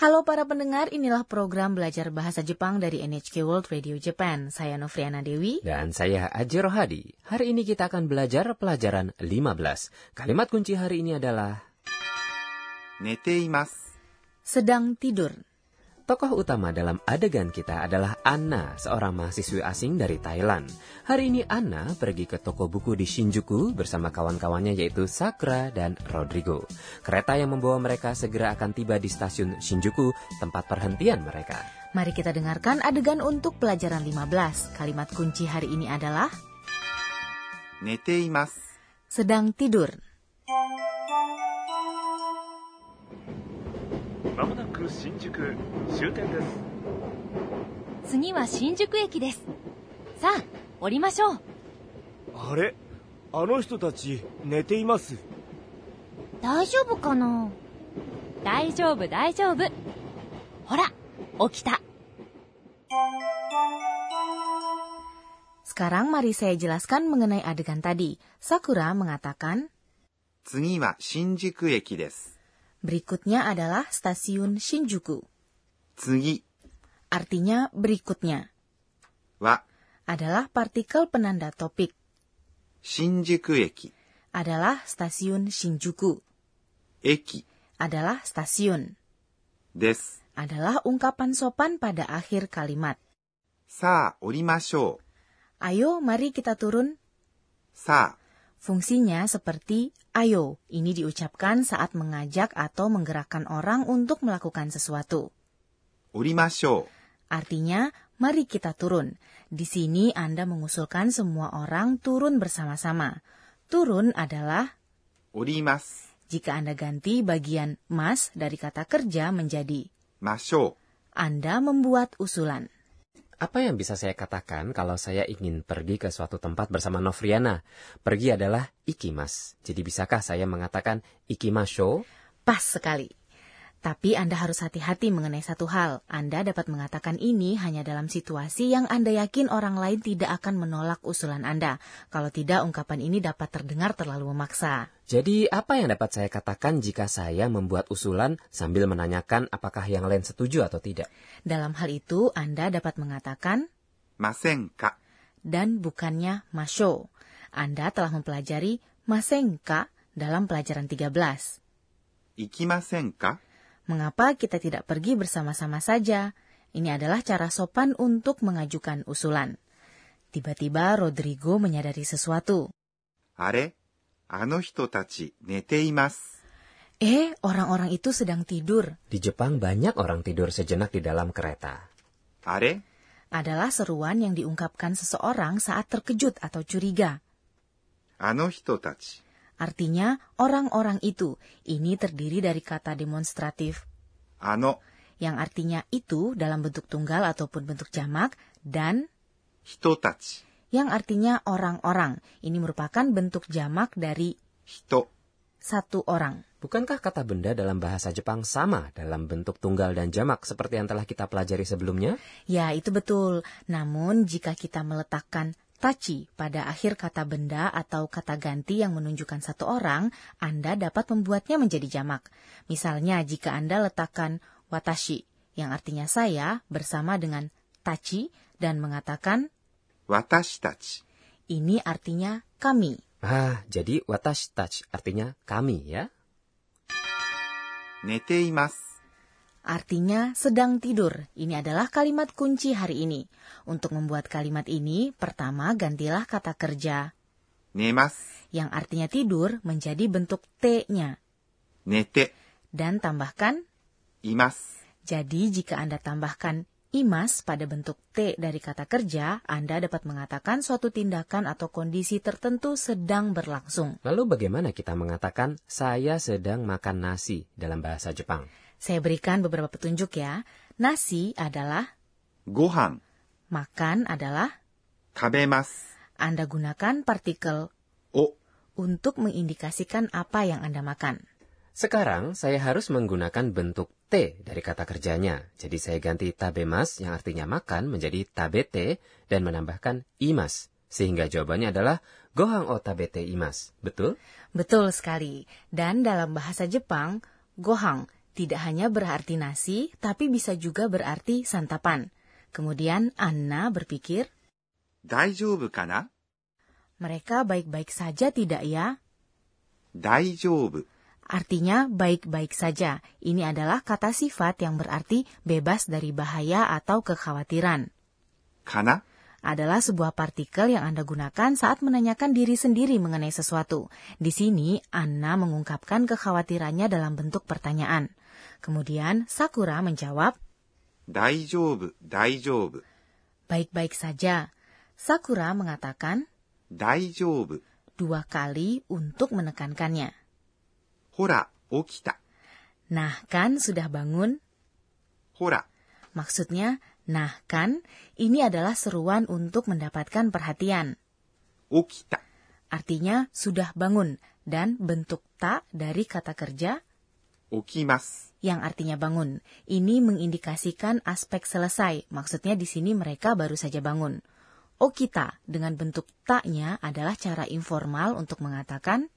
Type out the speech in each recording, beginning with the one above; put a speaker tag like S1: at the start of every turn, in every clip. S1: Halo para pendengar, inilah program belajar bahasa Jepang dari NHK World Radio Japan. Saya Novriana Dewi.
S2: Dan saya Aji Rohadi. Hari ini kita akan belajar pelajaran 15. Kalimat kunci hari ini adalah
S3: 寝ています。
S1: Sedang tidur.
S2: Tokoh utama dalam adegan kita adalah Anna, seorang mahasiswi asing dari Thailand. Hari ini Anna pergi ke toko buku di Shinjuku bersama kawan-kawannya yaitu Sakura dan Rodrigo. Kereta yang membawa mereka segera akan tiba di stasiun Shinjuku, tempat perhentian mereka.
S1: Mari kita dengarkan adegan untuk pelajaran 15. Kalimat kunci hari ini adalah
S3: 寝ています。
S1: sedang tidur.
S4: まもなく新宿終点です
S5: 次は新宿駅ですさあ降りましょう
S6: あれあの人たち寝ています
S5: 大丈夫かな大丈夫大丈夫ほら起きた
S1: Sekarang mari saya jelaskan mengenai adegan tadi. Sakura mengatakan,
S3: 次は新宿駅です。
S1: berikutnya adalah stasiun Shinjuku.
S3: 次
S1: Artinya berikutnya
S3: は
S1: adalah partikel penanda topik,
S3: 新宿駅。
S1: adalah stasiun Shinjuku,
S3: 駅
S1: adalah stasiun,
S3: です。
S1: adalah ungkapan sopan pada akhir kalimat.
S3: さあ降りましょう。
S1: Ayo mari kita turun
S3: さあ
S1: Fungsinya seperti ayo. Ini diucapkan saat mengajak atau menggerakkan orang untuk melakukan sesuatu.
S3: 降りましょ
S1: Artinya, mari kita turun. Di sini Anda mengusulkan semua orang turun bersama-sama. Turun adalah
S3: う。降ります。
S1: jika Anda ganti bagian mas dari kata kerja menjadi
S3: ましょ
S1: Anda membuat usulan.
S2: Apa yang bisa saya katakan kalau saya ingin pergi ke suatu tempat bersama Novriana? Pergi adalah ikimas. Jadi bisakah saya mengatakan ikimasho?
S1: Pas sekali. Tapi Anda harus hati-hati mengenai satu hal. Anda dapat mengatakan ini hanya dalam situasi yang Anda yakin orang lain tidak akan menolak usulan Anda. Kalau tidak, ungkapan ini dapat terdengar terlalu memaksa.
S2: Jadi apa yang dapat saya katakan jika saya membuat usulan sambil menanyakan apakah yang lain setuju atau tidak?
S1: Dalam hal itu, Anda dapat mengatakan
S3: う。ませんか。
S1: dan bukannya masyo. Anda telah mempelajari masengka dalam pelajaran 13.
S3: 行きませんか
S1: Mengapa kita tidak pergi bersama-sama saja? Ini adalah cara sopan untuk mengajukan usulan. Tiba-tiba Rodrigo menyadari sesuatu.
S3: あれあの人たち寝ています。
S1: Eh, orang-orang itu sedang tidur
S2: Di Jepang banyak orang tidur sejenak di dalam kereta.
S3: あれ
S1: adalah seruan yang diungkapkan seseorang saat terkejut atau curiga.
S3: あの人たち。
S1: Artinya, orang-orang itu ini terdiri dari kata demonstratif
S3: あの
S1: yang artinya itu dalam bentuk tunggal ataupun bentuk jamak dan
S3: 人たち。
S1: yang artinya orang-orang. Ini merupakan bentuk jamak dari
S3: 人。
S1: satu orang.
S2: Bukankah kata benda dalam bahasa Jepang sama dalam bentuk tunggal dan jamak seperti yang telah kita pelajari sebelumnya?
S1: Ya, itu betul. Namun, jika kita meletakkan tachi pada akhir kata benda atau kata ganti yang menunjukkan satu orang, Anda dapat membuatnya menjadi jamak. Misalnya, jika Anda letakkan watashi, yang artinya saya, bersama dengan tachi, dan mengatakan
S3: 私たち。
S1: ini artinya kami.
S2: Ah, jadi watashi touch artinya kami ya.
S3: 寝ています。
S1: Artinya sedang tidur. Ini adalah kalimat kunci hari ini. Untuk membuat kalimat ini, pertama gantilah kata kerja
S3: 寝ます。
S1: yang artinya tidur menjadi bentuk T-nya.
S3: 寝て
S1: Dan tambahkan,
S3: います。
S1: jadi jika Anda tambahkan imas pada bentuk T dari kata kerja, Anda dapat mengatakan suatu tindakan atau kondisi tertentu sedang berlangsung.
S2: Lalu bagaimana kita mengatakan saya sedang makan nasi dalam bahasa Jepang?
S1: Saya berikan beberapa petunjuk ya. Nasi adalah,
S3: ご飯。
S1: makan adalah,
S3: 食べます。
S1: Anda gunakan partikel
S3: お。
S1: untuk mengindikasikan apa yang Anda makan.
S2: Sekarang saya harus menggunakan bentuk T dari kata kerjanya. Jadi saya ganti tabemas yang artinya makan menjadi tabete dan menambahkan imas. Sehingga jawabannya adalah gohan o tabete imas. Betul?
S1: Betul sekali. Dan dalam bahasa Jepang, gohang tidak hanya berarti nasi, tapi bisa juga berarti santapan. Kemudian Anna berpikir,
S3: 大丈夫かな
S1: mereka baik-baik saja tidak ya?
S3: 大丈夫
S1: Artinya baik-baik saja. Ini adalah kata sifat yang berarti bebas dari bahaya atau kekhawatiran.
S3: かな
S1: Adalah sebuah partikel yang Anda gunakan saat menanyakan diri sendiri mengenai sesuatu. Di sini, Anna mengungkapkan kekhawatirannya dalam bentuk pertanyaan. Kemudian, Sakura menjawab,
S3: 大丈夫、大丈夫、
S1: baik-baik saja. Sakura mengatakan
S3: 大丈夫。
S1: dua kali untuk menekankannya.
S3: ほら、起きた。
S1: Nah kan sudah bangun?
S3: ほら、
S1: Maksudnya, nah kan, ini adalah seruan untuk mendapatkan perhatian.
S3: 起きた。
S1: Artinya, sudah bangun, dan bentuk tak dari kata kerja
S3: 起きます。
S1: yang artinya bangun. Ini mengindikasikan aspek selesai, maksudnya di sini mereka baru saja bangun. Okita dengan bentuk taknya adalah cara informal untuk mengatakan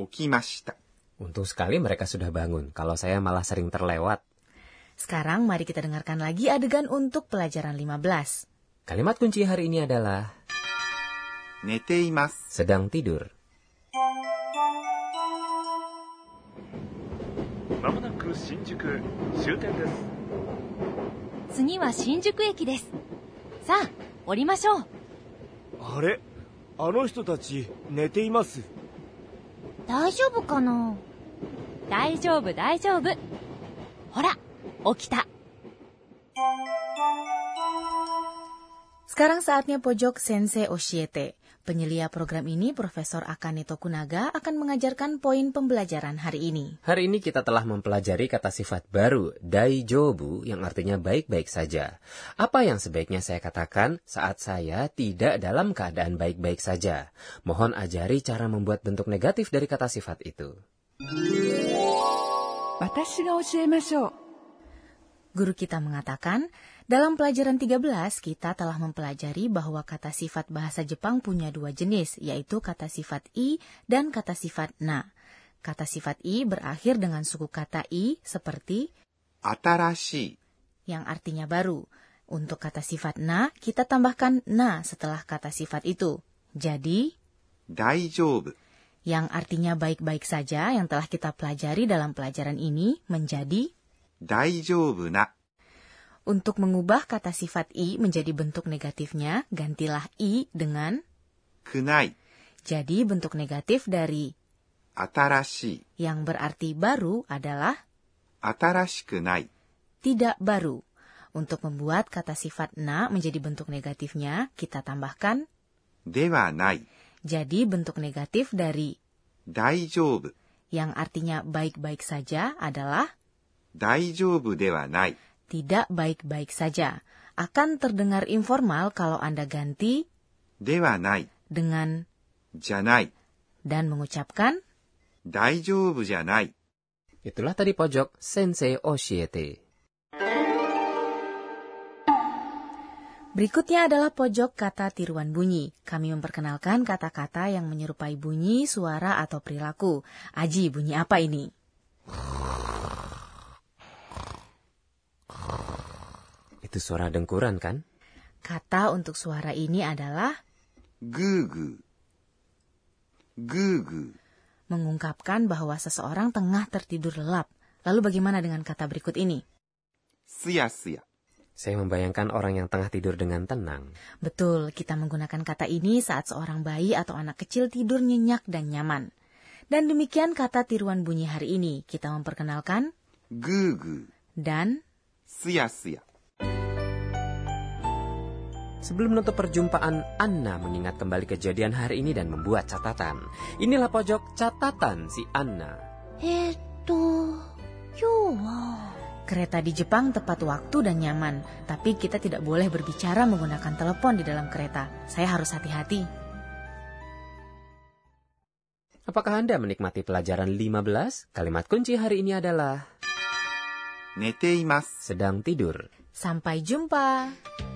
S3: 起きました。
S2: Untung sekali mereka sudah bangun. Kalau saya malah sering terlewat.
S1: Sekarang mari kita dengarkan lagi adegan untuk pelajaran 15.
S2: Kalimat kunci hari ini adalah
S3: 寝ています。
S2: sedang tidur.
S4: まもなく新宿終点です
S5: 次は新宿駅ですさあ降りましょう
S6: あれあの人たち寝ています
S5: 大丈夫かな大丈夫大丈夫ほら起きた
S1: Sekarang saatnya pojok Sensei Oshiete. Penyelia program ini, Profesor Akane Tokunaga, akan mengajarkan poin pembelajaran hari ini.
S2: Hari ini kita telah mempelajari kata sifat baru, daijobu, yang artinya baik-baik saja. Apa yang sebaiknya saya katakan saat saya tidak dalam keadaan baik-baik saja? Mohon ajari cara membuat bentuk negatif dari kata sifat itu.
S7: 私が教えましょう
S1: Guru kita mengatakan, dalam pelajaran 13 kita telah mempelajari bahwa kata sifat bahasa Jepang punya dua jenis, yaitu kata sifat i dan kata sifat na. Kata sifat i berakhir dengan suku kata i seperti
S3: 新しい、
S1: yang artinya baru. Untuk kata sifat na, kita tambahkan na setelah kata sifat itu. Jadi,
S3: 大丈夫、
S1: yang artinya baik-baik saja yang telah kita pelajari dalam pelajaran ini menjadi
S3: 大丈夫な、
S1: untuk mengubah kata sifat i menjadi bentuk negatifnya, gantilah i dengan
S3: くない、
S1: jadi bentuk negatif dari
S3: 新しい、
S1: yang berarti baru adalah
S3: 新しくない、
S1: tidak baru. Untuk membuat kata sifat na menjadi bentuk negatifnya, kita tambahkan
S3: ではない、
S1: jadi bentuk negatif dari
S3: 大丈夫、
S1: yang artinya baik-baik saja adalah
S3: 大丈夫ではない、
S1: tidak baik-baik saja. Akan terdengar informal kalau Anda ganti
S3: ではない、
S1: dengan
S3: じゃない、
S1: dan mengucapkan
S3: 大丈夫じゃない。
S2: Itulah tadi pojok Sensei Oshiete.
S1: Berikutnya adalah pojok kata tiruan bunyi. Kami memperkenalkan kata-kata yang menyerupai bunyi, suara, atau perilaku. Aji, bunyi apa ini?
S2: Itu suara dengkuran kan?
S1: Kata untuk suara ini adalah
S3: ぐーぐー、ぐーぐー、
S1: mengungkapkan bahwa seseorang tengah tertidur lelap. Lalu bagaimana dengan kata berikut ini?
S3: すやすや、
S2: Saya membayangkan orang yang tengah tidur dengan tenang.
S1: Betul, kita menggunakan kata ini saat seorang bayi atau anak kecil tidur nyenyak dan nyaman. Dan demikian kata tiruan bunyi hari ini. Kita memperkenalkan
S3: ぐーぐー、
S1: dan
S3: すやすや。
S2: Sebelum menutup perjumpaan, Anna mengingat kembali kejadian hari ini dan membuat catatan. Inilah pojok catatan si Anna.
S5: えっと今日は
S1: kereta di Jepang tepat waktu dan nyaman. Tapi kita tidak boleh berbicara menggunakan telepon di dalam kereta. Saya harus hati-hati.
S2: Apakah Anda menikmati pelajaran 15? Kalimat kunci hari ini adalah
S3: 寝ています。
S2: sedang tidur.
S1: Sampai jumpa.